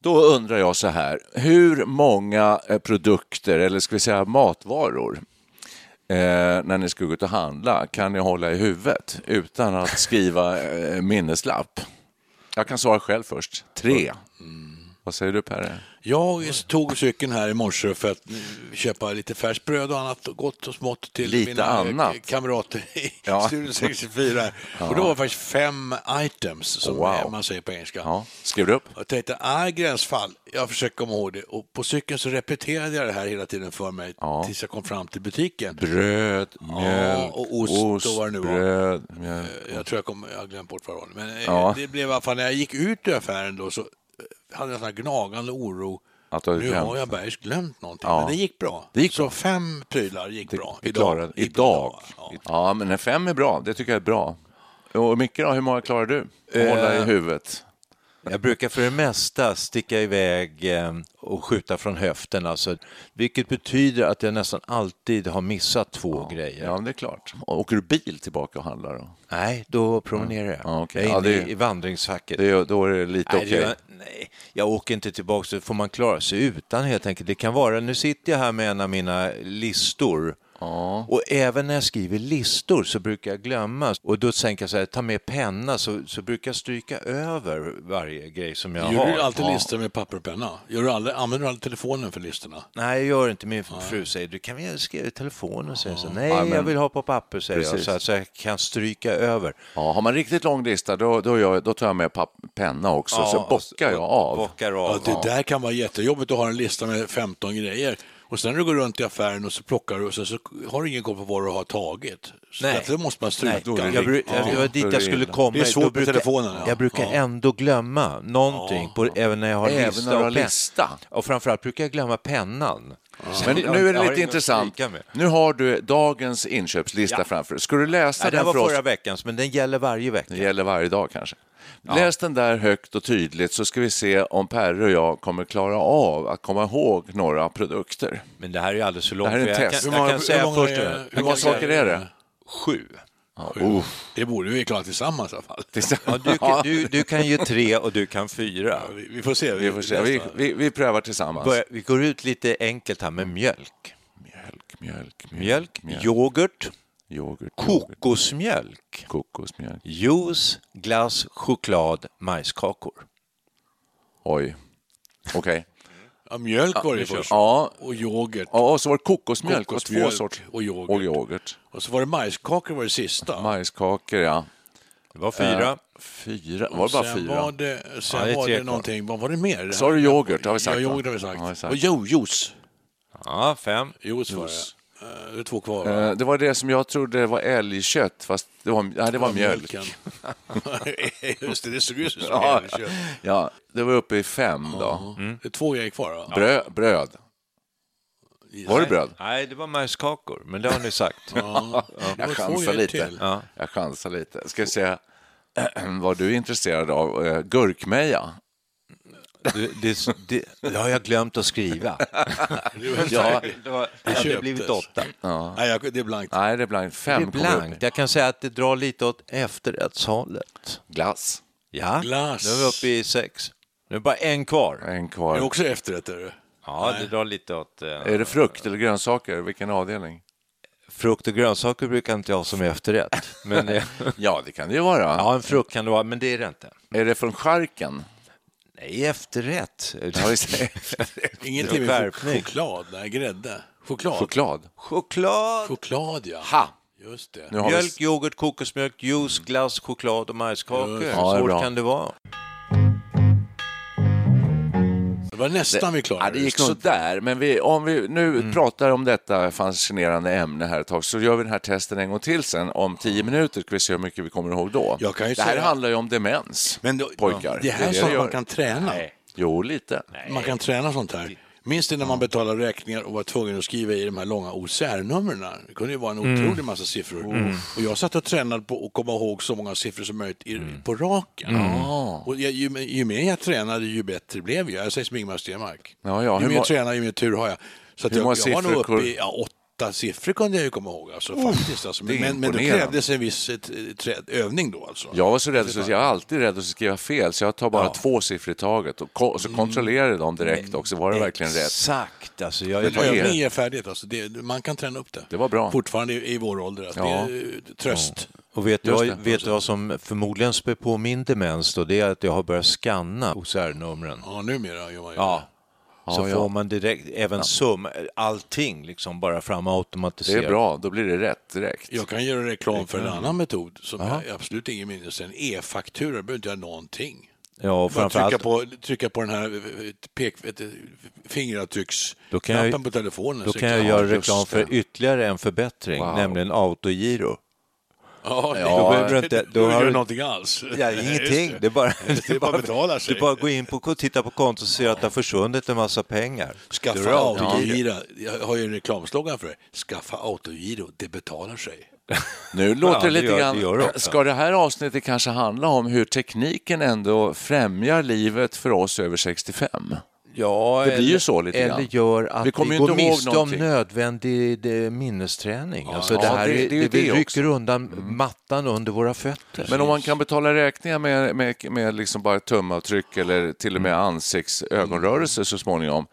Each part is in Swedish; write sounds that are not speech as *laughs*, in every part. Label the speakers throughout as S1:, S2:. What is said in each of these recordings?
S1: Då undrar jag så här, hur många eh, produkter, eller ska vi säga matvaror, eh, när ni ska gå ut och handla kan ni hålla i huvudet utan att skriva eh, minneslapp? Jag kan svara själv först. Tre. Mm. Vad säger du Perre?
S2: Jag tog cykeln här i morse för att köpa lite färskt bröd och annat gott och smått till
S1: Lite
S2: mina
S1: annat.
S2: eh, kamrater i
S1: *laughs* Ja.
S2: Studio 64. här. Och då var det faktiskt fem items som
S1: Wow.
S2: eh, man säger på engelska.
S1: Ja, skrev du upp?
S2: Jag tänkte, ah, gränsfall, jag försöker komma ihåg det. Och på cykeln så repeterade jag det här hela tiden för mig tills jag kom fram till butiken.
S1: Bröd, mjölk,
S2: och ost och vad det nu var.
S1: Eh,
S2: Eh,
S1: bröd, mjölk.
S2: Jag tror jag, kom, jag har glömt bort vad det var. Men eh,
S1: Ja.
S2: det blev i alla fall, när jag gick ut ur affären då så eh, hade jag en sån här gnagande oro.
S1: Att du hade
S2: nu
S1: glömt.
S2: har jag bergs glömt någonting.
S1: Ja.
S2: Men det gick bra.
S1: Det gick
S2: så fem prylar gick bra.
S1: Vi klarade- idag.
S2: Ja.
S1: Ja, men en fem är bra. Det tycker jag är bra. Och Micke då, hur många klarar du? Att hålla i
S3: Eh,
S1: huvudet.
S3: Jag brukar för det mesta sticka iväg eh, och skjuta från höften, alltså, vilket betyder att jag nästan alltid har missat två grejer.
S1: Ja, men det är klart. Och Åker du bil tillbaka och handlar då?
S3: Nej, då promenerar jag.
S1: Mm. Ja, okej.
S3: Jag är inne
S1: Ja, det-
S3: i- i vandringsfacket.
S1: Det, är- då är det lite
S3: Nej,
S1: okej.
S3: det gör jag- nej, jag åker inte tillbaka, så får man klara sig utan helt enkelt. Det kan vara, nu sitter jag här med en av mina listor och även när jag skriver listor så brukar jag glömma och då tänker jag så här, ta med penna så, så brukar jag stryka över varje grej som jag
S2: Gör
S3: har.
S2: du alltid
S3: Ja.
S2: listor med papper och penna? Gör du aldrig, använder du aldrig telefonen för listorna?
S3: Nej, jag gör inte. Min fru säger, du kan väl skriva i telefonen? Och säger så, nej,
S1: Ja, men-
S3: jag vill ha på papper, säger jag,
S1: Precis.
S3: så att så jag kan stryka över.
S1: Ja, har man riktigt lång lista då, då, gör, jag- då tar jag med papp, penna också, så
S3: Ja, alltså,
S1: bockar jag
S3: och-
S1: av.
S3: Bockar
S2: Ja,
S3: av.
S2: det där kan vara jättejobbigt att ha en lista med 15 grejer. Och sen när du går runt i affären och så plockar du och sen så har du ingen koll på vad du har tagit. Så
S3: Nej.
S2: därför måste man stryka.
S3: Nej, jag bru- Det var dit
S1: Då är
S3: jag skulle
S1: det-
S3: komma.
S2: Det är svårt
S3: Då
S2: med telefonen, ja.
S3: Jag brukar
S2: Ja.
S3: ändå glömma någonting, på, även när jag har
S1: Även
S3: lista.
S1: när du har
S3: och pen-
S1: lista.
S3: Och framförallt brukar jag glömma pennan. Så
S1: Men
S3: jag- jag
S1: nu är
S3: har
S1: det
S3: inget
S1: lite
S3: att
S1: intressant.
S3: stryka med.
S1: Nu har du dagens inköpslista
S3: Ja.
S1: framför dig. Ska du läsa
S3: Nej, det
S1: den
S3: var
S1: för oss?
S3: förra veckans, men den gäller varje vecka.
S1: Det gäller varje dag kanske. Läs den där högt och tydligt så ska vi se om Perre och jag kommer klara av att komma ihåg några produkter.
S3: Men det här är ju alldeles för långt.
S1: här är en
S3: för jag
S1: test.
S3: Kan,
S1: Hur
S3: jag
S2: många-
S3: kan
S2: hur
S3: säga
S2: många
S3: först
S2: är-
S3: nu.
S2: hur
S1: Hur många
S2: många
S1: saker är det?
S3: Sju.
S2: Det borde vi klara tillsammans i alla fall. *laughs*
S3: Ja, du, kan- du, du kan ju tre och du kan fyra.
S2: Vi, vi får
S1: *laughs*
S2: se.
S1: Vi, får se. Vi, vi, vi prövar tillsammans.
S3: Börja, vi går ut lite enkelt här med mjölk.
S1: Mjölk, mjölk, mjölk.
S3: Mjölk, Mm. yoghurt,
S1: yoghurt, yoghurt,
S3: kokosmjölk,
S1: kokosmjölk.
S3: juice, glass, choklad, majskakor.
S1: Oj. Okej.
S2: Ja, mjölk var det ju
S1: kör.
S2: först.
S1: Ja.
S2: Och yoghurt.
S1: Ja, och så var det kokosmjölk, och
S2: Kokosmjölk
S1: två sorter.
S2: och yoghurt.
S1: Och yoghurt.
S2: Och så var det majskakor var det sista.
S1: Majskakor, ja.
S3: Det var fyra.
S1: Eh, Fyra. Var det bara
S2: sen
S1: fyra?
S2: Var det, sen
S3: Ja, det är
S2: var
S3: tre
S2: det
S3: kvar.
S2: någonting, vad var det mer?
S1: Sa du yoghurt? Har vi sagt
S2: Ja,
S1: va?
S2: yoghurt har vi sagt.
S1: Ja, vi sagt.
S2: Och jo, juice.
S3: Ja, fem.
S2: Juice var det. Eh, Det är två kvar. va?
S1: Eh, Det var det som jag trodde var älgkött, fast det var, nej, det var mjölk.
S2: Mjölken. *laughs* Just det, det såg ut som
S1: *laughs* Ja, Mm.
S2: mjölkkött.
S1: ja, det var uppe i fem då.
S2: Det är två grejer kvar va?
S1: Brö, bröd. Var det bröd?
S3: Nej, det var majskakor, men det har ni *laughs* sagt.
S2: Ja, det var
S1: Jag
S2: två
S1: chansar
S2: grejer
S1: lite.
S2: till.
S1: Ja. Jag chansar lite. Ska vi se *clears throat* vad du är intresserad av. Eh, Gurkmeja.
S3: Det, det, det, det har jag glömt att *laughs* skriva.
S2: Det var-
S3: Ja, det var, det hade
S2: köptes.
S3: blivit åtta.
S2: *laughs* Nej, jag, det är blankt.
S1: Nej, det är blankt.
S3: Det är
S1: Fem kommer upp.
S3: blankt. Jag kan säga att det drar lite åt efterrättshållet.
S1: Glass.
S3: Ja,
S2: Glass.
S3: nu är vi uppe i sex. Nu är bara en kvar.
S1: En
S2: Det är
S1: kvar.
S2: också efterrätter.
S3: Ja, det drar lite åt... eh,
S1: Är det frukt eller grönsaker? Vilken avdelning?
S3: Frukt och grönsaker brukar inte jag ha som efterrätt.
S1: *laughs*
S3: Men det,
S1: Ja, det kan det ju vara.
S3: ja, en frukt kan det vara, men det är det inte.
S1: Är det från charken?
S3: Nej, efterrätt.
S1: Ja, visst.
S2: *laughs*
S1: *laughs*
S2: Ingenting med
S3: Skärpning.
S2: chok- choklad, nej, grädde. Choklad.
S1: Choklad.
S3: Choklad,
S2: Choklad, ja.
S1: Ha!
S2: Just det.
S1: Nu har vi...
S3: mjölk, yoghurt, kokosmjölk, juice, glass, choklad och majskakor.
S2: Just.
S1: Ja, det är
S3: Svårt
S1: bra.
S3: kan det vara.
S2: Det var nästan vi Mm.
S1: Ja,
S2: klarade
S1: det gick
S2: Stund-
S1: sådär, men vi, om vi nu pratar om detta fascinerande ämne här ett tag så gör vi den här testen en gång till sen om tio minuter ska vi se hur mycket vi kommer ihåg då.
S2: Jag kan ju
S1: det här
S2: säga-
S1: handlar ju om demens,
S2: Men då,
S1: pojkar.
S2: Det här är
S1: det
S2: sånt
S1: det
S2: man
S1: gör.
S2: kan träna.
S1: Jo, lite.
S2: Man kan träna sånt här. Minns ni när man betalade räkningar och var tvungen att skriva i de här långa OCR-numren? Det kunde ju vara en
S1: Mm.
S2: otrolig massa siffror. Och jag satt och tränade på att komma ihåg så många siffror som möjligt i,
S1: Mm.
S2: på raken. Och jag, ju, ju mer jag tränade, ju bättre blev jag. Jag säger som Ingemar Stenmark.
S1: Ja, ja,
S2: ju
S1: hur
S2: mer
S1: må-
S2: jag tränar, ju mer tur har jag. Så att
S1: Hur
S2: jag,
S1: många
S2: jag var nog
S1: siffror- Oh,
S2: uppe i ja, åtta siffror kunde jag ju komma ihåg. Alltså, faktiskt, alltså.
S1: det är
S2: Men, men det
S1: imponerande.
S2: krävdes en viss eh, trä- övning då alltså.
S1: Jag var så rädd, så jag är alltid rädd att skriva fel, så jag tar bara två siffror i taget och, ko- och
S2: Mm.
S1: så kontrollerar jag dem direkt också. Var det verkligen rätt?
S3: Exakt, alltså. Jag
S2: Men
S3: är
S2: övning är färdigt. Alltså det, man kan träna upp det.
S1: Det var bra.
S2: Fortfarande i, i vår ålder. Alltså
S1: Ja.
S2: Det är eh, tröst.
S3: Och vet du
S1: Just
S3: vad-
S1: det.
S3: vet du vad som förmodligen spär på min demens då? Det är att jag har börjat scanna OCR-numren.
S2: Ja, numera gör man ju
S3: Ja. Så
S1: Ja, ja.
S3: får man direkt, även sum, allting liksom bara fram och
S1: Det
S3: automatiserat.
S1: är bra, då blir det rätt direkt.
S2: det. Jag kan göra reklam för en annan metod som jag absolut ingen minnes än. E-faktura behöver inte göra någonting.
S3: Ja, och
S2: Bara trycka
S3: framförallt,
S2: på, trycka på den här eh, pek, eh,
S3: Då kan jag-
S2: fingeravtrycksknappen på telefonen.
S3: då
S2: så
S3: kan
S2: kan-
S3: jag
S2: Ja,
S3: göra
S2: just
S3: reklam
S2: det.
S3: för ytterligare en förbättring,
S1: Wow.
S3: nämligen *laughs* autogiro.
S2: Ja, det-
S3: Då behöver du inte- då
S2: behöver
S3: har
S2: du
S3: du-
S2: någonting alls.
S3: Ja,
S2: Just
S3: ingenting. Det är bara,
S2: Det är bara att betala sig.
S3: Du bara går in på och titta på kontot och ser att det har försvunnit en massa pengar. Då är
S2: Skaffa
S3: det
S2: autogiro. Jag har ju en reklamslogan för det. Skaffa autogiro, det betalar sig.
S1: Nu låter det
S3: det
S1: lite
S3: gör- det
S1: grann...
S3: gör det också.
S1: Ska det här avsnittet kanske handla om hur tekniken ändå främjar livet för oss över 65?
S3: Ja,
S1: Det blir ju så lite
S3: eller
S1: grann.
S3: gör att
S1: Vi
S3: vi,
S1: kommer ju
S3: går
S1: inte ihåg
S3: miste om
S1: någonting.
S3: nödvändig eh, minnesträning. alltså
S1: ja,
S3: det här
S1: det-
S3: är,
S1: det är ju
S3: det, Mm. vi
S1: det
S3: rycker
S1: också.
S3: undan mattan under våra fötter.
S1: Men om man kan betala räkningar med, med, med liksom bara tumavtryck eller till och med ansikts ögonrörelser så småningom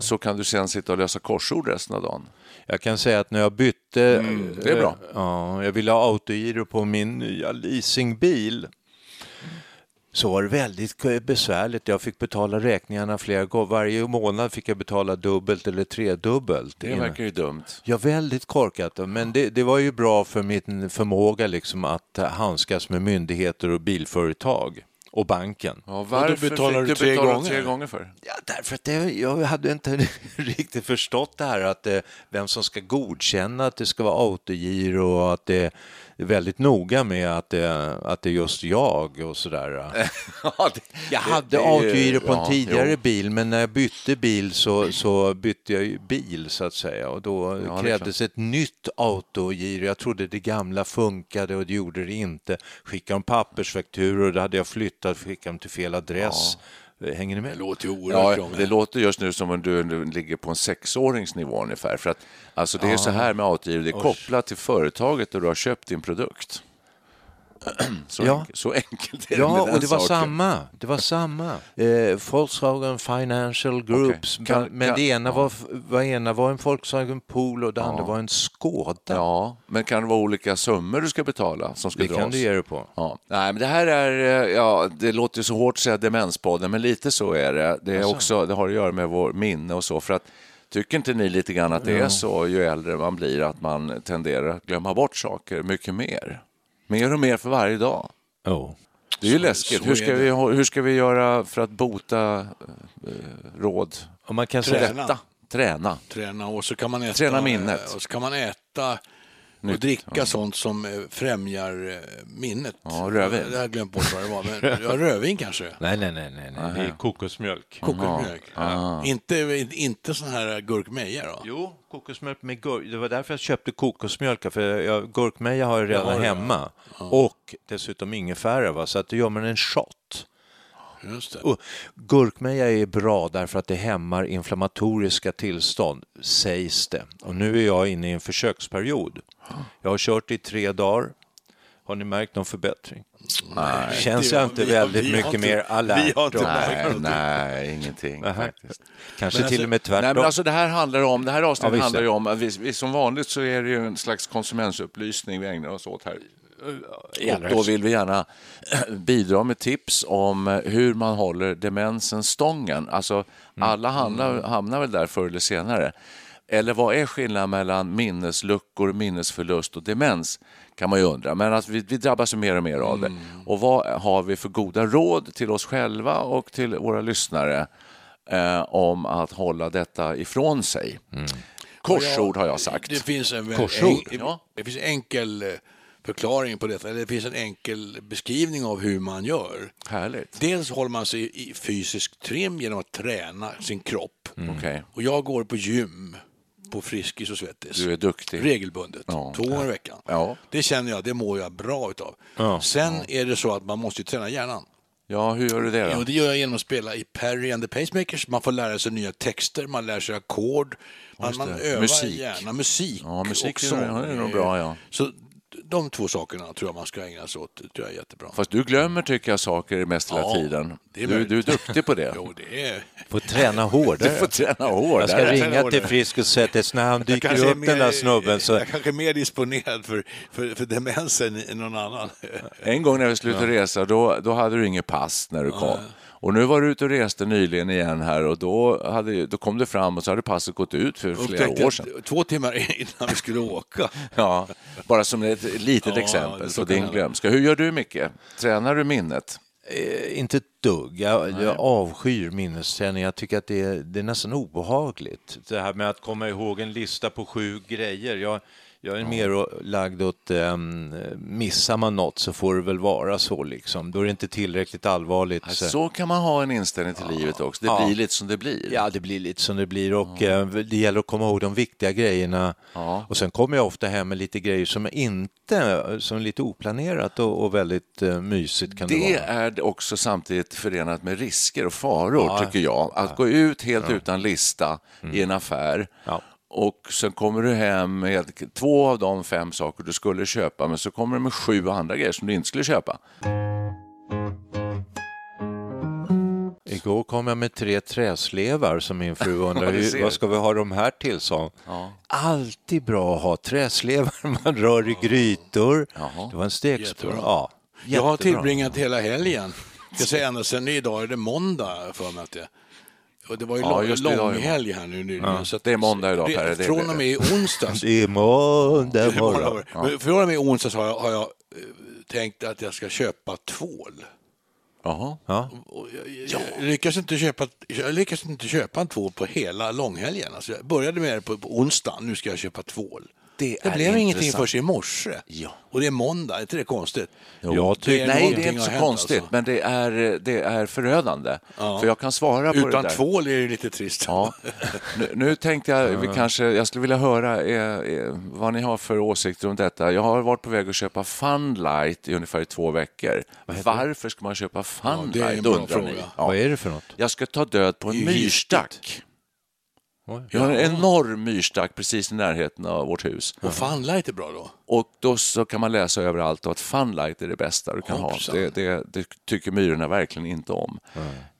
S1: så kan du sen sitta och lösa korsord resten av dagen.
S3: Jag kan säga att när jag bytte...
S1: Mm,
S3: eh,
S1: det är bra.
S3: Ja, jag ville ha autogiro på min nya leasingbil. Så var det väldigt besvärligt. Jag fick betala räkningarna flera gånger. Varje månad fick jag betala dubbelt eller tredubbelt.
S1: Det
S3: innan-
S1: verkar ju dumt.
S3: Ja, väldigt korkat. Men det, det var ju bra för min förmåga liksom att handskas med myndigheter och bilföretag och banken.
S1: Ja,
S2: då betalar
S1: fick
S2: du tre
S1: betala
S2: gånger?
S1: tre gånger för?
S3: Ja, därför att det, jag hade inte *laughs* riktigt förstått det här att eh, vem som ska godkänna att det ska vara autogiro och att det är väldigt noga med att det, att det är just jag och sådär.
S1: ja, *laughs* det,
S3: Jag
S1: det-
S3: hade
S1: det är ju-
S3: autogiro på
S1: ja,
S3: en tidigare
S1: jo.
S3: bil men när jag bytte bil så, så bytte jag ju bil så att säga och då
S1: det är
S3: krävdes ett nytt autogiro. Jag trodde det gamla funkade och det gjorde det inte. Skickade de pappersfakturor, då hade jag flyttat, skickade dem till fel adress. Hänger ni med?
S2: Det låter ju oerhört
S1: Ja,
S2: krångligt.
S1: det låter just nu som om du nu ligger på en sexåringsnivå ungefär. För att, alltså det är så här med autogiro, det är kopplat till företaget där du har köpt din produkt. *clears throat* Så,
S3: Ja.
S1: enkelt, så enkelt är det med
S3: Ja,
S1: den
S3: och det var
S1: saken.
S3: samma. Det var samma. Eh, Volkswagen Financial Groups.
S1: Okej. Kan-
S3: men
S1: kan-
S3: det ena, var, var ena var en Volkswagen Polo och det andra var en Skoda.
S1: Ja, men kan det vara olika summor du ska betala som ska
S3: det
S1: dras?
S3: kan du ge dig på.
S1: Ja. Nej, men det här är, eh, ja, det låter ju så hårt att säga demenspodden, men lite så är det. Det, är också, det har att göra med vår minne och så. För att, tycker inte ni lite grann att det är så ju äldre man blir, att man tenderar att glömma bort saker mycket mer? Mer och mer för varje dag.
S3: Oh.
S1: Det är ju läskigt.
S2: så
S1: hur,
S2: är
S1: ska
S2: det.
S1: vi, ha- hur ska vi göra för att bota eh, råd?
S3: Och man kan säga,
S2: Träna.
S1: Rätta. Träna.
S2: Träna och så kan man äta,
S1: Träna minnet.
S2: Och så kan man äta och dricka sånt som eh, främjar eh, minnet.
S1: Ja, rödvin.
S2: Jag har glömt bort vad det var, men
S1: *laughs*
S2: ja, rödvin kanske.
S3: nej, nej, nej, nej, Mm. nej. det är kokosmjölk.
S2: Kokosmjölk.
S1: Ah.
S2: Inte, inte, inte sån här gurkmeja då?
S3: Jo, kokosmjölk med gurk. Det var därför jag köpte kokosmjölk, för jag, gurkmeja har jag redan hemma. Och dessutom ingefära, va? så att då gör man en shot.
S2: Just det.
S3: Och gurkmeja är bra därför att det hämmar inflammatoriska tillstånd, sägs det. Och nu är jag inne i en försöksperiod. Jag har kört i tre dagar Har ni märkt någon förbättring?
S1: Nej.
S3: Känns
S2: Det-
S3: jag inte
S2: vi-
S3: väldigt
S2: vi har
S3: mycket
S2: inte-
S3: mer alert?
S2: vi har inte
S3: då?
S2: märkt
S1: Nej, nej, ingenting
S3: Nähä.
S1: faktiskt.
S3: Kanske
S2: Men
S3: till och med tvärtom.
S1: Nej, men alltså det här handlar om, det här
S3: Ja,
S1: avsnittet
S3: visst.
S1: handlar ju om, att vi, vi, som vanligt så är det ju en slags konsumentupplysning vi ägnar oss åt här. Och då vill vi gärna bidra med tips om hur man håller demensen stången. Alltså, alla hamnar, hamnar väl där förr eller senare. Eller vad är skillnaden mellan minnesluckor, minnesförlust och demens? kan man ju undra, men att vi, vi drabbas ju mer och mer av det. Och vad har vi för goda råd till oss själva och till våra lyssnare eh, om att hålla detta ifrån sig? Korsord har jag sagt.
S2: Det finns en, väl-
S1: Korsord,
S2: en,
S1: ja.
S2: det finns en enkel eh, förklaring på detta, eller det finns en enkel beskrivning av hur man gör.
S1: Härligt.
S2: Dels håller man sig i- i fysisk trim genom att träna sin kropp.
S1: Okej.
S2: Och jag går på gym på Friskis och Svettis.
S1: Du är duktig.
S2: Regelbundet, två gånger i veckan.
S1: Ja.
S2: Det känner jag, det mår jag bra utav. Sen är det så att man måste ju träna hjärnan.
S1: Ja, hur gör du det
S2: Och
S1: då?
S2: det gör jag genom att spela i Perry and the Pacemakers. Man får lära sig nya texter, man lär sig ackord, man, man
S1: det.
S2: övar
S1: Musik.
S2: gärna musik.
S1: Ja, musik
S2: och
S1: är-
S2: sång.
S1: ja, det är nog bra, ja.
S2: Så de två sakerna tror jag man ska ägna sig åt. Det tror jag är jättebra.
S1: Fast du glömmer, tycker jag, saker mest hela
S2: Ja,
S1: tiden.
S2: det är
S1: Du,
S2: möjligt.
S1: du är duktig på det.
S2: *laughs* Jo, det är...
S3: Får träna
S1: Du får
S3: hårdare.
S1: träna hårdare.
S3: Jag ska ringa
S2: hårdare.
S3: till Frisk och Svettis när han dyker upp den där snubben. Så...
S2: jag kanske är mer disponerad för, för, för demensen än någon annan. *laughs*
S1: En gång när vi slutade resa, då, då hade du inget pass när du kom. Och nu var du ute och reste nyligen igen här och då, hade, då kom du fram och så hade passet gått ut för flera
S2: Upptäckte
S1: år sedan.
S2: att Två timmar *laughs* innan vi skulle åka.
S1: Ja, bara som ett litet
S2: Ja, det
S1: exempel
S2: så
S1: på
S2: kan
S1: din
S2: hända.
S1: glömska. Hur gör du, Micke? Tränar du minnet?
S3: Eh, Inte ett dugg. Jag, jag avskyr minnesträning. Jag tycker att det är, det är nästan obehagligt. Det här med att komma ihåg en lista på sju grejer. Jag, jag är mer å- lagd åt, um, missar man något så får det väl vara så liksom. Då är det inte tillräckligt allvarligt.
S1: Så, kan man ha en inställning till livet också. Det
S3: Ja.
S1: blir lite som det blir.
S3: Ja, det blir lite som det blir och eh, det gäller att komma ihåg de viktiga grejerna. Och sen kommer jag ofta hem med lite grejer som är inte, som är lite oplanerat och, och väldigt eh, mysigt kan det,
S1: Det
S3: vara.
S1: är också samtidigt förenat med risker och faror, tycker jag. Att gå ut helt utan lista i en affär
S3: Mm. Ja.
S1: och sen kommer du hem med två av de fem saker du skulle köpa, men så kommer du med sju andra grejer som du inte skulle köpa.
S3: Igår kom jag med tre träslevar som
S2: *laughs*
S3: min fru
S1: Ja,
S3: undrade,
S1: du ser.
S3: "Hur- vad ska vi ha de här till? sa hon. Alltid bra att ha träslevar *laughs* man rör i grytor. Det var en stekspår.
S2: Jättebra.
S3: Ja,
S2: Jag har
S3: jättebra.
S2: tillbringat hela helgen. Jag säger ända sedan idag är det måndag för mig att det och det var ju
S1: Ja,
S2: lång,
S1: just det, idag är det
S2: helg här nu nyligen. så att-
S1: det är måndag idag, Per, det blir
S2: Från och med
S1: *laughs*
S2: i onsdags.
S3: Det är måndag
S2: Det är måndag,
S3: morgon.
S2: men Från och med i onsdags har jag, har jag eh, tänkt att jag ska köpa tvål.
S1: Jaha.
S3: Ja.
S2: Och jag, jag, jag, lyckas inte köpa, jag lyckas inte köpa en tvål på hela långhelgen. Alltså jag började med det på, på onsdag, nu ska jag köpa tvål.
S1: Det är
S2: blev ingenting
S1: intressant.
S2: förrän i morse.
S1: Ja.
S2: Och det är måndag, är inte det konstigt?
S3: Jag
S2: Det
S3: tycker...
S2: är
S1: Nej, det
S2: någonting
S1: är inte
S2: har
S1: så
S2: hänt,
S1: konstigt,
S2: alltså.
S1: men det är, det är förödande. För jag kan svara på det
S2: Utan
S1: där.
S2: tvål är det lite trist.
S1: Ja. Nu, nu tänkte jag, vi kanske, jag skulle vilja höra eh, eh, vad ni har för åsikter om detta. Jag har varit på väg att köpa Funlight i ungefär två veckor. Varför ska man köpa Funlight,
S2: det är en bra
S1: undrar ni?
S2: fråga.
S1: Ja.
S3: Vad är det för något?
S1: Jag ska ta död på en
S2: ju
S1: myrstack.
S3: Oj.
S1: Jag har en enorm myrstack precis i närheten av vårt hus.
S2: Och Funlight är bra då.
S1: Och då så kan man läsa överallt att funlight är det bästa du kan
S2: Hoppsan.
S1: ha. Det, det, det tycker myrorna verkligen inte om.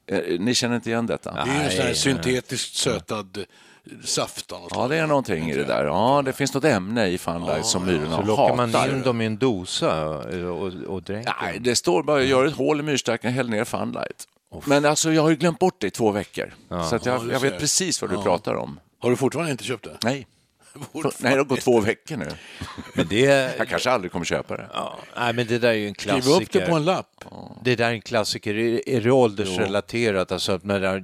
S1: Eh, Ni känner inte igen detta?
S2: Det är ju en sån här syntetiskt sötad eh, saft. av något
S1: Ja, det är någonting i det där. Ja, det finns något ämne i funlight som myrorna
S3: Så lockar man
S1: hatar.
S3: in dem i en dosa eh, och, och dränker
S1: Nej,
S3: dem?
S1: det står bara, gör ett hål i myrstacken, häll ner funlight. Men alltså, jag har ju glömt bort det i två veckor. Så att
S2: Ja,
S1: jag,
S2: du
S1: jag
S2: ser.
S1: vet precis vad du pratar om.
S2: Har du fortfarande inte köpt det?
S1: Nej.
S2: *laughs*
S1: Nej, det har gått två veckor nu.
S3: Men det,
S1: Jag kanske aldrig kommer köpa det.
S3: Ja, nej, men det där är ju en klassiker.
S2: Skriv upp det på en lapp.
S3: Det där är en klassiker. Är, är det åldersrelaterat? Alltså att när där,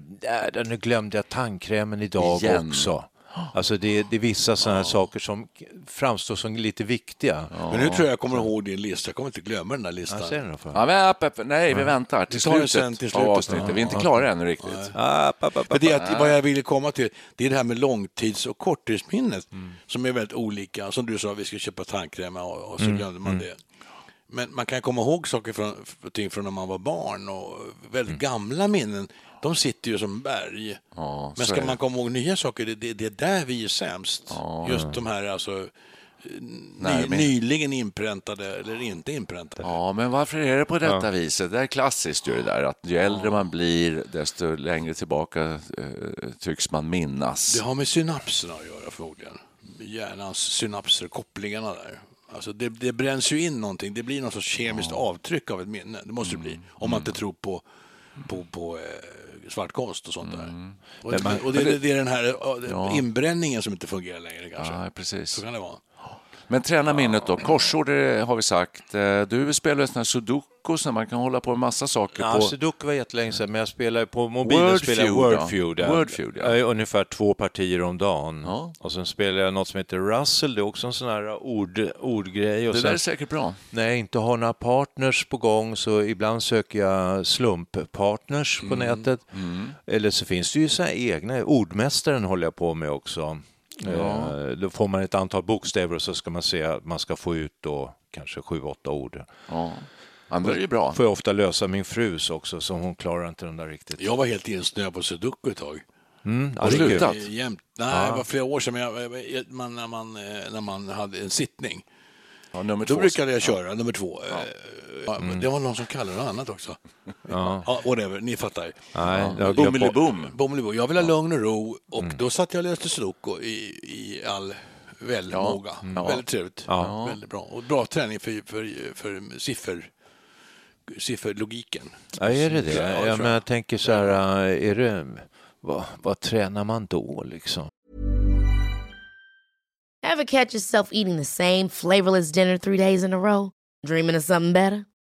S3: där, nu glömde jag tandkrämen idag
S1: Igen.
S3: också. Alltså det, det är vissa sådana här saker som k- framstår som lite viktiga.
S2: Men nu tror jag jag kommer ihåg din lista. Jag kommer inte glömma den där listan.
S3: Vad säger du för?
S1: Ja, men, upp, upp. nej, vi väntar till
S2: tar det
S1: slutet,
S2: sen till
S1: av
S2: slutet.
S1: avsnittet. Vi är inte klara ännu riktigt.
S3: App, app, app,
S2: För
S3: app.
S2: det är att, vad jag ville komma till, det är det här med långtids och korttidsminnet som är väldigt olika. Som du sa, vi ska köpa tandkräm och, och så
S1: Mm.
S2: glömde man det. Men man kan komma ihåg saker från, för- ting från när man var barn och väldigt
S1: Mm.
S2: gamla minnen, de sitter ju som berg.
S1: Ja,
S2: Men
S1: så
S2: ska
S1: är
S2: man komma ihåg nya saker, det, det, det är där vi är sämst. Just de här alltså,
S1: Nej,
S2: ny,
S1: men-
S2: nyligen inpräntade eller inte inpräntade.
S1: Ja, men varför är det på detta viset? Det är klassiskt ju det där att ju äldre man blir desto längre tillbaka eh, tycks man
S2: Det
S1: minnas.
S2: har med synapserna att göra förmodligen. Hjärnans synapser, kopplingarna där. Alltså det, det bränns ju in någonting, det blir något sorts kemiskt avtryck av ett minne. Det måste det bli, om
S1: Mm.
S2: man inte tror på, på, på eh, svartkonst och sånt
S1: Mm.
S2: där. Och, det- och det, det, det är den här eh, inbränningen som inte fungerar längre kanske.
S1: Ja, precis.
S2: Så kan det vara.
S1: Men träna minnet då. Korsord eh, har vi sagt. Eh, Du spelar ju sådana här sudokus när man kan hålla på med massa saker.
S3: Ja,
S1: på...
S3: Sudoku alltså, var jättelänge sedan, men jag spelar ju på mobilen.
S1: Wordfeud,
S3: spelar jag
S1: ja.
S3: Wordfeud, ja.
S1: Wordfeud, ja.
S3: Eh, Ungefär två partier om dagen.
S1: Ja.
S3: Och sen spelar jag något som heter Russell, det är också en sån här ord, ordgrej. Och
S1: Det där
S3: sen,
S1: är säkert bra.
S3: När jag inte har några partners på gång så ibland söker jag slumppartners på nätet. Eller så finns det ju så här egna, ordmästaren håller jag på med också. Eh, Då får man ett antal bokstäver och så ska man se att man ska få ut då kanske sju, åtta ord.
S1: Ja. Ja, men det är ju bra.
S3: Får jag ofta lösa min frus också, så hon klarar inte den där riktigt.
S2: Jag var helt insnöad på sudoku ett tag. Eh,
S3: Mm, ja,
S1: Har
S3: det är kul.
S1: slutat?
S2: Jämt. Nej, det var flera år sedan, men jag, jag- jag, man, när, man, eh, när man hade en sittning.
S1: Ja, nummer
S2: Då
S1: två.
S2: brukade jag köra nummer två. Eh, Ja. men Det var någon som kallade det annat också. Ja. whatever, ni fattar.
S3: Nej, jag har glömt bort-
S1: Boom.
S2: Bommelebo. Jag ville ha lugn och ro och då satt jag och läste sudoku i, i all välmåga. Väldigt trevligt. Väldigt bra. Och bra träning för, för, för siffer, sifferlogiken.
S3: Ja, är det det?
S2: Ja, jag
S3: Ja,
S2: tror
S3: men jag tänker så här, äh, är det, vad, vad tränar man då liksom?
S4: Ever catch yourself eating the same flavorless dinner three days in a row? Dreaming of something better?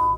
S5: a-"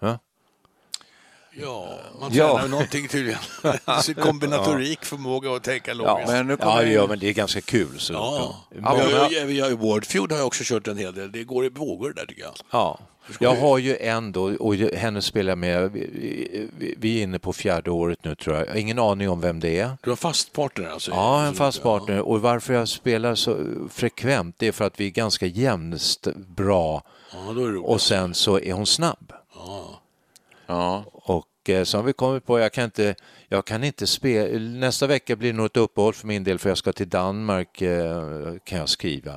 S3: Ja?
S2: Ja, man
S3: Ja.
S2: tränar ja. någonting tydligen. Sin Kombinatorik, förmåga att tänka logiskt.
S1: men nu kommer
S3: ja, det
S1: jag in.
S3: gör men det är ganska kul. Sudoku.
S2: Ja.
S3: Många-
S2: Jag, jag, jag, Wordfeud har jag också kört en hel del. Det går i vågor där tycker jag.
S3: Ja. Jag har ju en då, och jag- henne spelar jag med, vi- vi, vi är inne på fjärde året nu tror jag. Jag har ingen aning om vem det är.
S2: Du har fast partner alltså?
S3: Ja, en fast partner. Och varför jag spelar så frekvent, det är för att vi är ganska jämnt bra
S2: Ja, då är det roligt.
S3: och sen så är hon snabb.
S1: Ja.
S3: Och eh, så har vi kommit på, jag kan inte, jag kan inte spela, nästa vecka blir det nog ett uppehåll för min del för jag ska till Danmark eh, kan jag skriva.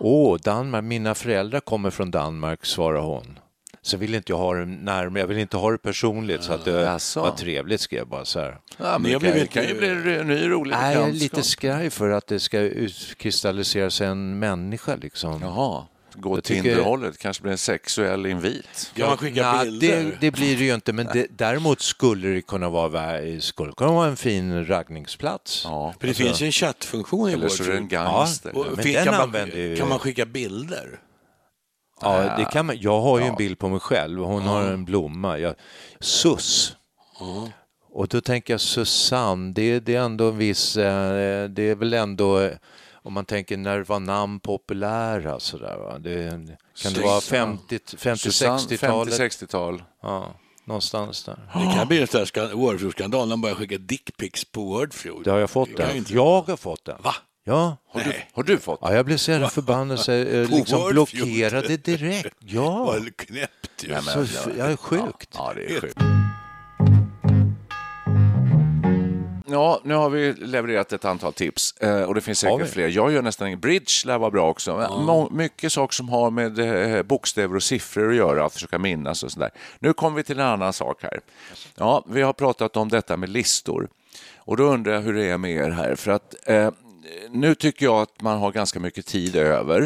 S3: Åh, Danmark, mina föräldrar kommer från Danmark, svarar hon. Sen vill inte jag ha det närmare, jag vill inte ha det personligt så att det
S1: Ah, Jaså.
S3: var trevligt skrev jag bara så här.
S1: Ja, men
S2: Ni
S1: det
S2: har
S1: kan, det
S2: blivit-
S1: kan ju bli en ny rolig
S3: Nej, jag är lite
S1: bekantskap.
S3: skraj för att det ska utkristalliseras en människa liksom.
S1: Jaha, gå
S3: Jag
S1: till
S3: tycker-
S1: Tinderhållet, kanske blir en sexuell invit.
S2: Kan man skicka
S3: Nej,
S2: bilder?
S3: Det, det blir det ju inte, men det, däremot skulle det kunna vara, vä- skulle kunna vara en fin raggningsplats.
S1: Ja,
S2: För det finns ju en chattfunktion i
S1: eller så är det en
S2: Wordfeud.
S1: gangster.
S3: Ja.
S2: Och
S3: Men
S2: fin-
S3: den
S2: kan, man,
S3: använder ju-
S2: kan man skicka bilder?
S3: Ja, det kan man. Jag har ju en bild på mig själv. Hon har en blomma. Jag, sus. Och då tänker jag Susanne, det, det är ändå en viss, eh, det är väl ändå, eh, om man tänker när var namn populära sådär va? Det, kan det vara 50, 50
S1: Susanne,
S3: 60-talet?
S1: 50-60-tal.
S3: Ja, någonstans där.
S2: Det kan bli en sån här
S3: Ja.
S1: Har, du, har du fått?
S3: Ja, jag blev så jävla förbannad så jag eh,
S2: På
S3: liksom
S2: Wordfeud. *laughs*
S3: blockerade direkt. Ja,
S2: Vad knäppt ju.
S1: Nej, men-
S3: så f- jag är sjukt.
S1: Ja, det är sjukt. Ja, nu har vi levererat ett antal tips eh, och det finns
S3: Har vi?
S1: säkert fler. Jag gör nästan ingen bridge, lär vara bra också. Men må- Mycket saker som har med eh, bokstäver och siffror att göra, att försöka minnas och sådär. Nu kommer vi till en annan sak här. Ja, vi har pratat om detta med listor och då undrar jag hur det är med er här, för att eh, nu tycker jag att man har ganska mycket tid över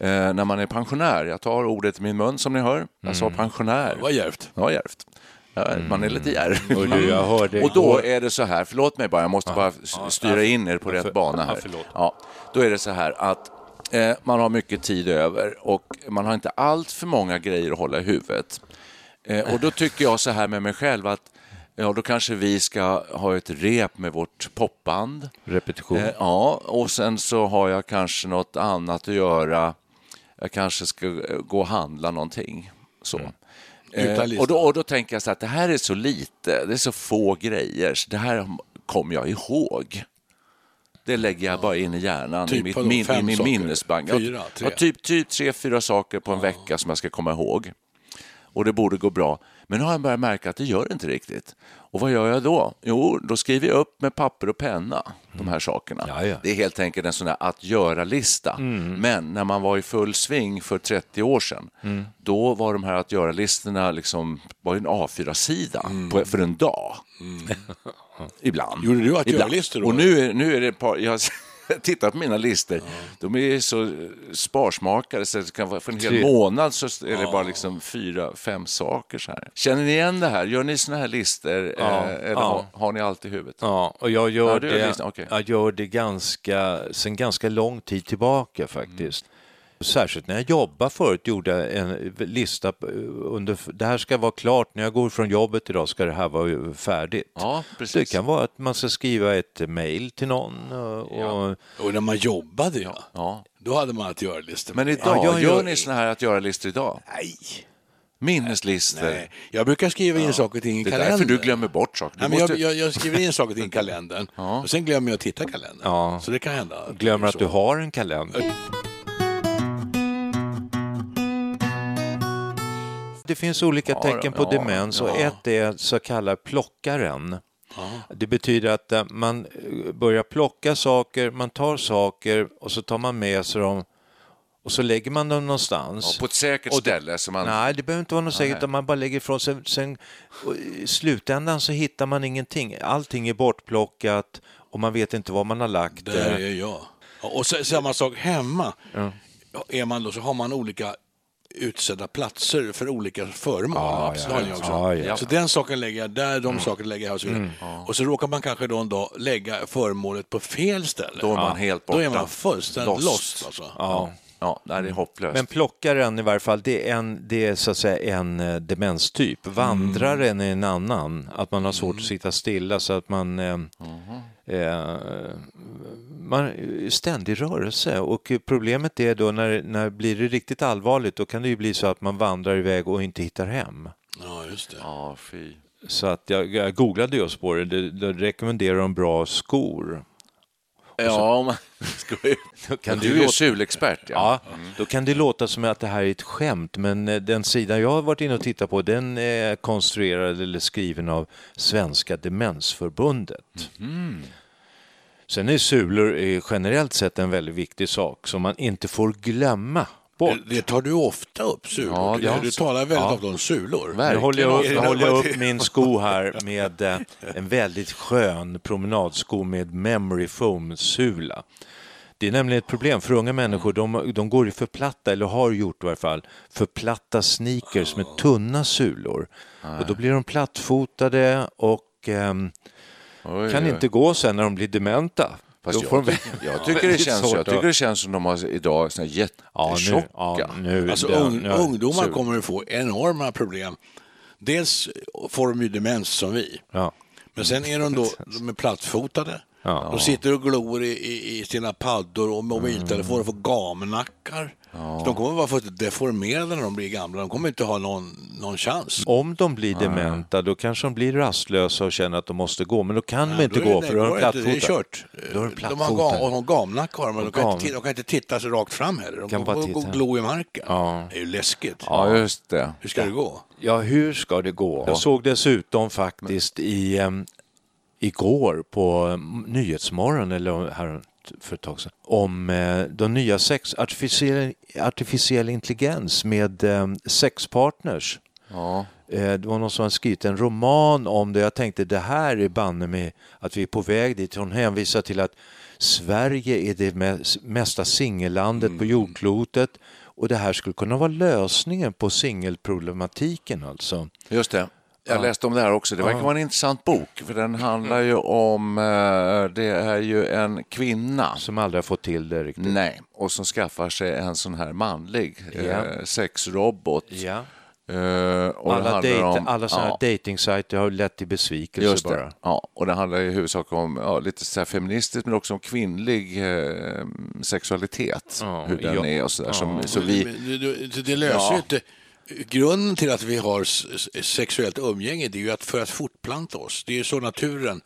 S1: eh, när man är pensionär. Jag tar ordet i min mun som ni hör. Jag sa pensionär.
S2: Vad djärvt.
S1: Ja, djärvt. Ja, Man är lite djärv.
S3: Mm. Och du, jag hörde
S1: Och då
S3: igår-
S1: är det så här, förlåt mig bara, jag måste bara s- styra in er på rätt bana här.
S3: förlåt.
S1: Ja, då är det så här att eh, man har mycket tid över och man har inte allt för många grejer att hålla i huvudet. Eh, och då tycker jag så här med mig själv att ja, då kanske vi ska ha ett rep med vårt popband.
S3: Repetition.
S1: Eh, ja, och sen så har jag kanske något annat att göra. Jag kanske ska eh, gå och handla någonting. Så.
S2: Utan
S1: Eh,
S2: Mm. lista.
S1: och, då, och då tänker jag så här, att det här är så lite, det är så få grejer, så det här kommer jag ihåg. Det lägger jag bara in i hjärnan, i,
S2: Typ
S1: mitt,
S2: vadå,
S1: min, i
S2: fem
S1: min
S2: saker?
S1: minnesbank. Jag-
S2: Fyra, tre?
S1: Ja, typ, typ tre, fyra saker på en vecka som jag ska komma ihåg. Och det borde gå bra. Men nu har jag börjat märka att det gör inte riktigt. Och vad gör jag då? Jo, då skriver jag upp med papper och penna de här sakerna.
S3: Ja, Mm. ja.
S1: Det är helt enkelt en sån där att göra-lista. Men när man var i full sving för 30 år sedan,
S3: Mm.
S1: då var de här att göra-listorna liksom, var ju en A4-sida
S3: Mm.
S1: på, för en dag. *laughs* Ibland.
S2: Gjorde du att
S1: Ibland.
S2: göra-listor då?
S1: Och nu är, nu är det ett par, jag *laughs* tittar på mina listor. De är så eh, sparsmakade så det kan vara för en hel
S3: Tre.
S1: månad så är det bara liksom fyra, fem saker. Så här. Känner ni igen det här? Gör ni såna här listor
S3: Ja,
S1: eh, eller
S3: ja.
S1: har, har ni allt i huvudet?
S3: Ja, och jag gör,
S1: Ja, du har
S3: det,
S1: lyssnat, okej.
S3: jag gör det ganska, sen ganska lång tid tillbaka faktiskt.
S1: Mm.
S3: Särskilt när jag jobbade förut gjorde jag en lista på- under, det här ska vara klart, när jag går från jobbet idag ska det här vara färdigt.
S1: Ja, precis.
S3: Det kan vara att man ska skriva ett mejl till någon och, och
S2: Och när man jobbade, ja.
S1: Ja.
S2: Då hade man att göra-listor.
S1: Men idag,
S3: Ja, jag
S1: gör,
S3: gör-
S1: ni såna här att göra-listor idag?
S2: Nej.
S1: Minneslistor?
S2: Nej, jag brukar skriva in saker och ting i
S1: Det är
S2: kalendern.
S1: därför du glömmer bort saker. Du
S2: Nej, men
S1: måste...
S2: jag, jag, jag skriver in saker och ting i kalendern och sen glömmer jag att titta i kalendern.
S3: Ja.
S2: Så det kan hända.
S3: glömmer
S2: Så.
S3: att du har en kalender. Det finns olika
S1: Ja,
S3: tecken på
S1: ja,
S3: demens och
S1: ja.
S3: ett är så kallad plockaren. Det betyder att eh, man eh, börjar plocka saker, man tar saker och så tar man med sig dem och så lägger man dem någonstans.
S1: Ja, på ett säkert
S3: Och det-
S1: ställe. Så man...
S3: Nej, det behöver inte vara något säkert, utan man bara lägger ifrån sig. Sen, och I slutändan så hittar man ingenting. Allting är bortplockat och man vet inte var man har lagt
S2: Där
S3: det.
S2: är jag. Ja, Och så, samma sak hemma. Är man då, så har man olika utsedda platser för olika föremål.
S3: Ja,
S2: Absolut,
S3: ja,
S2: har ni också.
S3: ja, ja.
S2: Så den saken lägger jag där, de sakerna lägger jag här och så vidare. Och så råkar man kanske då en dag lägga föremålet på fel ställe.
S1: Då är man helt
S2: Då
S1: borta.
S2: är man fullständigt lost.
S1: Lost.
S2: alltså.
S3: Ja. Mm.
S1: Ja, nej, det är hopplöst.
S3: Men plockaren i varje fall, det är, en, det är så att säga en eh, demenstyp. Vandraren är en annan, att man har svårt att sitta stilla så att man... Eh, eh, man är ständig rörelse och problemet är då när, när det blir det riktigt allvarligt då kan det ju bli så att man vandrar iväg och inte hittar hem.
S2: Ja, just det.
S1: Ja, fy.
S3: Så att jag, jag googlade just på det, det, det rekommenderar de bra skor.
S1: Ja,
S3: *laughs*
S1: man... Ska vi...
S3: kan
S1: du
S3: du
S1: är ju
S3: låta-
S1: sulexpert. Ja.
S3: Ja, då kan det låta som att det här är ett skämt, men eh, den sidan jag har varit inne och tittat på, den är konstruerad eller skriven av Svenska Demensförbundet. Sen är sulor eh, generellt sett en väldigt viktig sak som man inte får glömma bort.
S2: Det- Det tar du ofta upp, sulor.
S1: Ja, det
S2: du
S1: har-
S2: talar väldigt ofta om sulor.
S3: Nu håller jag, upp-
S2: Är
S3: nu
S2: det-
S3: håller
S1: *laughs*
S3: jag upp min sko här med eh, en väldigt skön promenadsko med memory foam-sula. Det är nämligen ett problem för unga människor, de, de går i för platta, eller har gjort i varje fall, för platta sneakers med tunna sulor. Och då blir de plattfotade och ehm,
S1: Oj,
S3: kan
S1: oj.
S3: inte gå sen när de blir dementa.
S1: Fast
S3: Då
S1: jag,
S3: får de-
S1: tycker- jag,
S3: *laughs*
S1: tycker det
S3: väldigt
S1: känns,
S3: svårt
S1: jag tycker
S3: att-
S1: det känns som de har idag såna
S3: ja, nu,
S1: jättetjocka.
S3: ja, nu,
S2: Alltså,
S3: det-
S2: ung,
S3: nu har jag-
S2: ungdomar
S3: sul-
S2: kommer att få enorma problem. Dels får de ju demens som vi,
S3: Ja. *laughs*
S2: men sen är de då de är plattfotade
S3: Ja.
S2: De sitter och glor i, i, i sina paddor och mobiltelefoner
S3: Mm.
S2: får gamnackar. Så de kommer vara för deformerade när de blir gamla. De kommer inte ha någon, någon chans.
S3: Om de blir dementa, då kanske de blir rastlösa och känner att de måste gå, men då kan de inte
S2: Då är
S3: gå
S2: det-
S3: för då är
S2: går
S3: de
S2: det inte, Det är
S3: plattfotade.
S2: kört.
S3: Då är de
S2: de har
S3: plattfotade.
S2: gam, och de gamnack har de, men de
S3: Och
S2: kan,
S3: gam-
S2: inte, titta- de kan inte titta sig rakt fram heller. De
S3: Kan bara
S2: går och-
S3: titta.
S2: och glo i marken.
S3: Ja.
S2: Det är ju läskigt.
S1: Ja, just det.
S2: Hur ska det gå?
S3: Ja, hur ska det gå? Jag såg dessutom faktiskt i, em, igår på em, Nyhetsmorgon, eller här för ett tag sedan, om eh, de nya sex, artificiell, artificiell intelligens med em, sexpartners. Eh, Det var någon som hade skrivit en roman om det. Jag tänkte det här är banne med att vi är på väg dit. Hon hänvisar till att Sverige är det mes- mesta singellandet på jordklotet och det här skulle kunna vara lösningen på singelproblematiken alltså.
S1: Just det. Jag läste om det här också. Det verkar vara en intressant bok, för den handlar ju om... eh, Det är ju en kvinna
S3: Som aldrig har fått till det riktigt.
S1: Nej, och som skaffar sig en sån här manlig
S3: Ja.
S1: eh, sexrobot.
S3: Ja.
S1: Eh, och det
S3: Alla,
S1: handlar
S3: dejt,
S1: om-
S3: alla sådana här
S1: ja,
S3: dejtingsajter har lett till besvikelse
S1: Just
S3: bara.
S1: det. Ja, och det handlar i huvudsak om ja, lite så här feministiskt men också om kvinnlig eh, sexualitet,
S3: Ja,
S1: hur den
S3: ja.
S1: är och så där. Som, så
S2: Men-
S1: vi,
S2: men det- det, det löser ju
S1: Ja.
S2: inte... Grunden till att vi har s- s- sexuellt umgänge det är ju att för att fortplanta oss. Det är ju så naturen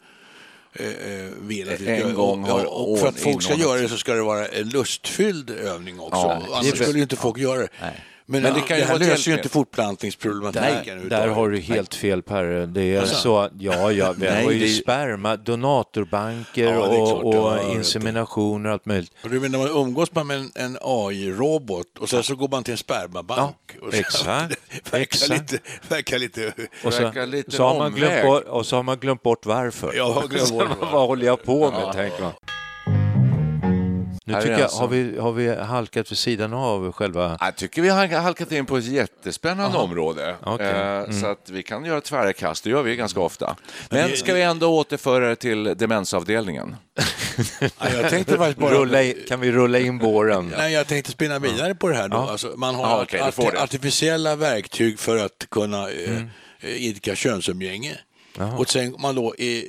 S2: eh, eh, vill att vi ska
S1: En
S2: göra.
S1: gång har
S2: och, och för att folk ska
S1: inordnat.
S2: göra det så ska det vara en lustfylld övning också.
S1: Ja,
S2: Och
S1: det är
S2: Annars
S1: precis.
S2: skulle ju inte folk göra det. Men,
S1: Men
S2: det,
S1: det kan ju
S2: här
S1: vara ett
S2: löser ju
S1: hjälpmedel.
S2: inte fortplantningsproblematiken.
S3: Där,
S2: överhuvudtaget.
S3: där
S2: Alltså.
S3: har du helt fel Per. Det är så att, ja, ja, vi
S1: Nej,
S3: har ju
S1: det-
S3: sperma, donatorbanker
S2: Ja, det är klart,
S3: och,
S2: ja,
S3: och
S2: jag vet
S3: inseminationer och allt möjligt.
S2: Och du menar man umgås man med en, en AI-robot och sen så går man till en spermabank. och så-
S3: exakt,
S2: *laughs* verkar,
S3: exakt.
S2: Lite, verkar lite...
S3: Och så,
S1: Verkar lite
S3: så har man glömt
S1: omväg.
S3: bort, och så har man glömt bort varför.
S2: Jag har glömt
S3: *laughs* Så
S2: bort
S3: vad vad håller jag på med, tänker man. Nu
S1: Här är
S3: tycker jag,
S1: alltså-
S3: har vi, har vi halkat vid sidan av själva...
S1: jag tycker vi har halkat in på ett jättespännande område.
S3: Okej. Mm.
S1: Eh, Så att vi kan göra tvära kast, det gör vi ganska ofta. Men ska vi ändå återföra det till demensavdelningen?
S2: Ja, jag tänkte faktiskt bara...
S3: Rulla in, kan vi rulla in båren?
S2: Nej, jag tänkte spinna vidare på det här då. Alltså, man har
S1: Ja, okej, du
S2: arti-
S1: får det.
S2: artificiella verktyg för att kunna eh,
S3: Mm.
S2: eh, idka könsumgänge. Och sen man då är,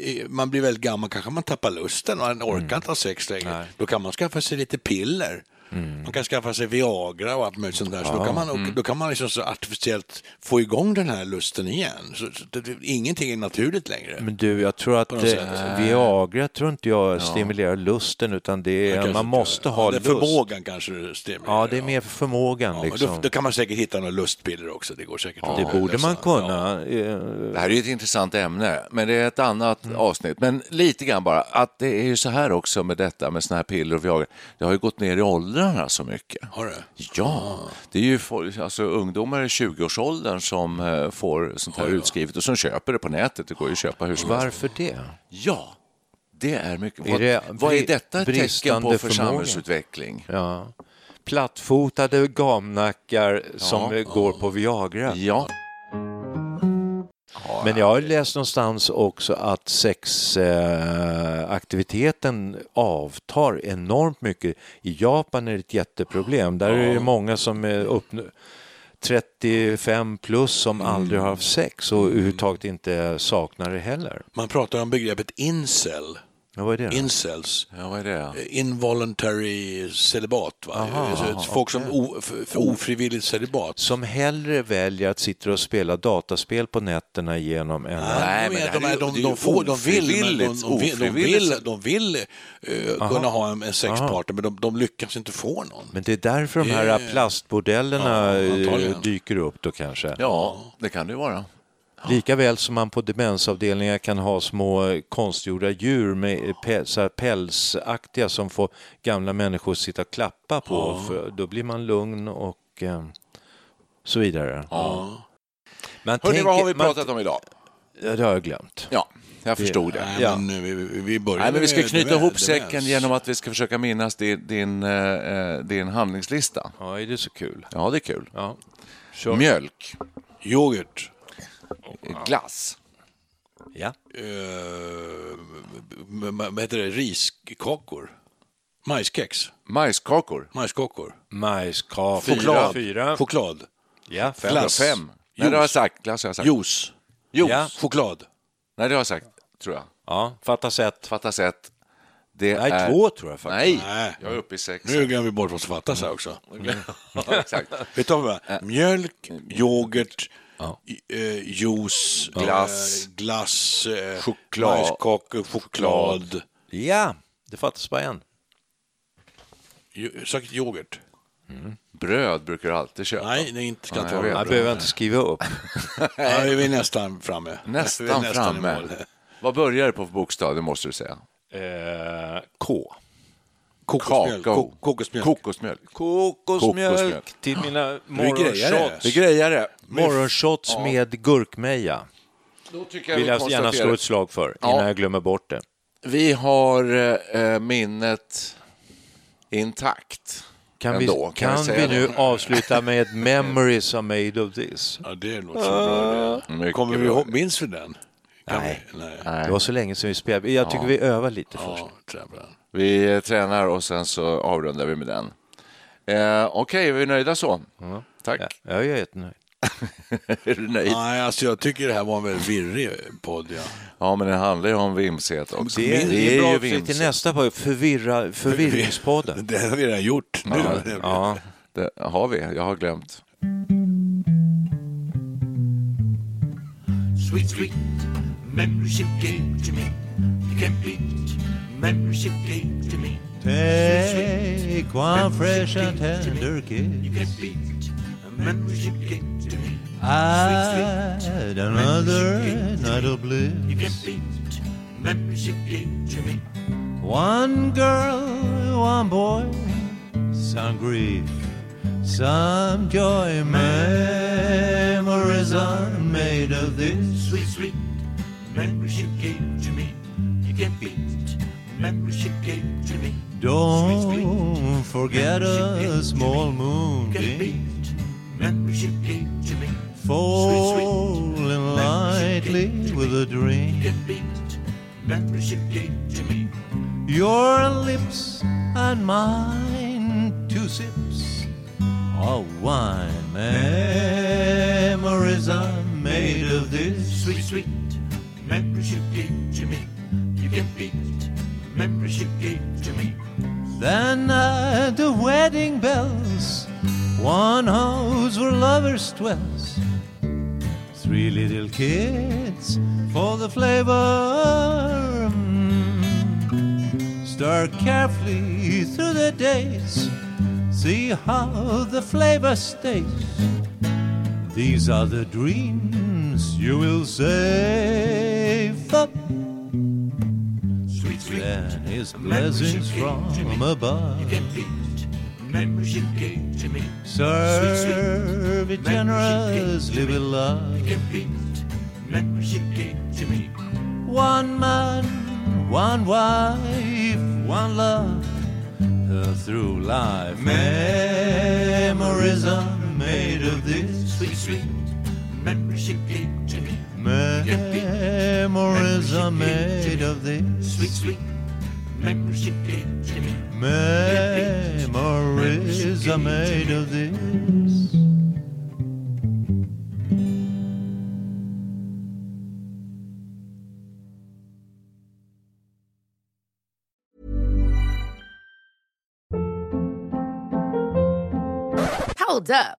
S2: är, man blir väldigt gammal kanske man tappar lusten och man orkar
S3: Mm.
S2: inte ha sex längre. Då kan man skaffa sig lite piller.
S3: Mm.
S2: Man kan skaffa sig Viagra och allt möjligt sånt där. Så då kan man, och då kan man liksom så artificiellt få igång den här lusten igen. Så, så, det, ingenting är naturligt längre.
S3: Men du, jag tror att
S2: något sätt.
S3: eh, Viagra tror inte jag stimulerar lusten utan det är,
S2: Kanske
S3: man
S2: inte-
S3: måste
S2: ja,
S3: ha
S2: det är
S3: lust.
S2: Förmågan kanske det stämmer.
S3: Ja, det är mer för förmågan
S2: Ja, men
S3: liksom.
S2: då, då kan man säkert hitta några lustpiller också. Det går säkert.
S3: det
S2: att
S3: borde
S2: lösa.
S3: man kunna. eh,
S1: Det här är ju ett intressant ämne, men det är ett annat avsnitt. Men lite grann bara, att det är ju så här också med detta med såna här piller och Viagra. Det har ju gått ner i åldrarna så mycket.
S2: Har det?
S1: Ja, det är ju folk, alltså, ungdomar i 20-årsåldern som eh, får sånt här utskrivet och som köper det på nätet. Det går ju att köpa hur som helst.
S3: Varför det?
S1: Ja, det är mycket.
S3: Är
S1: vad,
S3: det
S1: vad
S3: bri-
S1: är detta ett tecken
S3: bristande
S1: på för
S3: förmåga?
S1: samhällsutveckling?
S3: Ja. Plattfotade gamnackar som eh, går på Viagra.
S1: Ja,
S3: Men jag har läst någonstans också att sexaktiviteten eh, aktiviteten avtar enormt mycket. I Japan är det ett jätteproblem. Där är det många som är upp 35 plus som
S2: Mm.
S3: aldrig har haft sex och överhuvudtaget inte saknar det heller.
S2: Man pratar om begreppet incel.
S3: Ja, vad är det? då?
S2: Incels. eh,
S1: ja vad är det?
S2: Involuntary celibat. Va? Så folk som o, för, för ofrivilligt celibat.
S3: som hellre väljer att sitta och spela dataspel på nätterna genom en...
S1: Nej,
S2: de,
S1: men det här
S2: är- de,
S1: är
S2: är-
S1: ju-
S2: de,
S1: det är
S2: de
S1: ju
S2: får, de vill, men de, de vill,
S1: ofrivilligt-
S2: de vill, de vill eh, kunna ha en, en sexpartner, men de, de lyckas inte få någon.
S3: Men det är därför de här
S2: Ja, ja,
S1: Eh.
S2: ja.
S3: plastbordellerna
S2: Ja, antagligen.
S3: eh, dyker upp då kanske.
S1: Ja, det kan det ju vara.
S3: Lika väl som man på demensavdelningar kan ha små eh, konstgjorda djur med eh, pe- så här pälsaktiga som får gamla människor att sitta och klappa på. För då blir man lugn och eh, så vidare.
S2: Ja.
S3: Man
S1: Hörni, vad har vi
S3: man-
S1: pratat om idag?
S3: Ja, det har jag glömt.
S1: Ja, jag förstod det.
S2: Nej,
S3: Ja.
S2: men, eh, vi, vi- vi börjar
S1: Nej, men vi ska
S2: med
S1: knyta
S2: demens-
S1: ihop säcken
S2: demens.
S1: genom att vi ska försöka minnas din, din, eh, din handlingslista.
S3: Ja, är det så kul?
S1: Ja, det är kul.
S3: Ja.
S1: Mjölk,
S2: Yoghurt.
S1: glass,
S3: ja.
S2: eh, m- m- vad heter det, riskakor? Majskex?
S1: majskakor,
S2: Majskakor?
S3: Majskaka.
S2: Choklad?
S3: Fyra.
S2: Choklad?
S3: Ja, fem.
S2: Glass.
S1: fem. Nej, det har jag sagt. Glass har jag sagt.
S2: Juice?
S1: Juice.
S3: Ja.
S2: Choklad?
S1: Nej, det har jag sagt, tror jag.
S6: Ja, fattas ett.
S1: Fattas ett. Äh, Det
S6: Nej,
S1: är...
S6: två tror jag faktiskt.
S1: Nej, Mm.
S2: Nej.
S1: jag är uppe i sex.
S2: Nu glömmer vi bort vad som fattas här också.
S1: Ja, exakt.
S2: Vet du vad? Mjölk, yoghurt, i- eh, juice,
S1: Glass.
S2: eh, glass eh,
S1: Choklad.
S2: majskakor, choklad.
S6: Ja, det fattas bara en.
S2: Ju- Säkert yoghurt.
S1: Bröd brukar du alltid köpa.
S2: Nej, det är inte ska
S1: Nej,
S2: inte
S1: jag
S2: vara
S1: vet.
S6: Jag
S2: bra.
S6: behöver inte skriva upp.
S2: Ja, vi är nästan framme.
S1: Nästan,
S2: Vi är i
S1: framme.
S2: mål.
S1: Vad börjar det på för bokstav? Det måste du säga.
S6: Eh, K.
S2: Kokosmjölk.
S1: Kakao.
S2: Ko- kokosmjölk.
S1: Kokosmjölk.
S6: Kokosmjölk,
S1: Kokosmjölk.
S6: till mina
S2: grejer det.
S6: morgonshots.
S1: Vi grejar det.
S6: Morgonshots med gurkmeja.
S1: Då tycker jag
S6: Vill
S1: vi
S6: jag gärna slå
S1: konstaterar.
S6: ett slag för
S1: Ja.
S6: innan jag glömmer bort det.
S1: Vi har eh, minnet intakt.
S6: Kan vi,
S1: Ändå, kan jag
S6: kan vi
S1: säga
S6: nu
S1: det?
S6: avsluta med ett memories are made of this?
S2: Ja, det låter så
S1: Ah.
S2: bra. Det.
S1: Mycket
S2: Kommer vi
S1: bra.
S2: ihåg, minns vi den? Kan Nej. Vi? Nej.
S6: Det var så länge sedan vi spelade. Jag tycker vi övar lite först.
S2: Ja, träffar.
S1: Vi eh, tränar och sen så avrundar vi med den. Eh, Okej, är vi nöjda så? Tack.
S6: Ja, jag är jättenöjd.
S1: Är du nöjd?
S2: Nej, alltså jag tycker det här var en väldigt virrig podd. Ja.
S1: Ja, men det handlar ju om vimsighet också.
S6: Det är, det är
S1: ju
S6: bra avsnitt till
S1: vimsigt.
S6: nästa podd, *laughs* förvirra, förvirringspodden.
S2: *laughs* Det har vi redan gjort. Nu.
S6: Ja,
S1: Det har vi, jag har glömt.
S3: Sweet, sweet membership gave to me. You can't beat membership gave to me. Take one fresh and tender kiss. You can't beat membership gave to me. Add another night of bliss. You can't beat membership gave to me. One girl, one boy, some grief, some joy. Memories are made of this. Sweet, sweet memories you gave to me. You can't beat memories you gave to me. Don't forget a small moonbeam. Memories you gave to me. Falling lightly with a dream. You can't beat memories you gave to me. Your lips and mine, two sips of wine. Memories are made of this. Sweet, sweet memories you gave to me. You can beat memories you gave to me. Then at the wedding bells, one house where lovers dwells. Three little kids for the flavor. Mm. Stir carefully through the days. See how the flavor stays. These are the dreams you will save up. Sweet, sweet. Then his blessings from above. Memories you gave to me. Serve it generously with love. You can beat memories you gave to me. One man, one wife, one love. Uh, through life, memories are made of this. Sweet, sweet memories you gave to me. Memories are made of this. Sweet, sweet memories you gave to me. Memories are made of this.
S4: Hold up.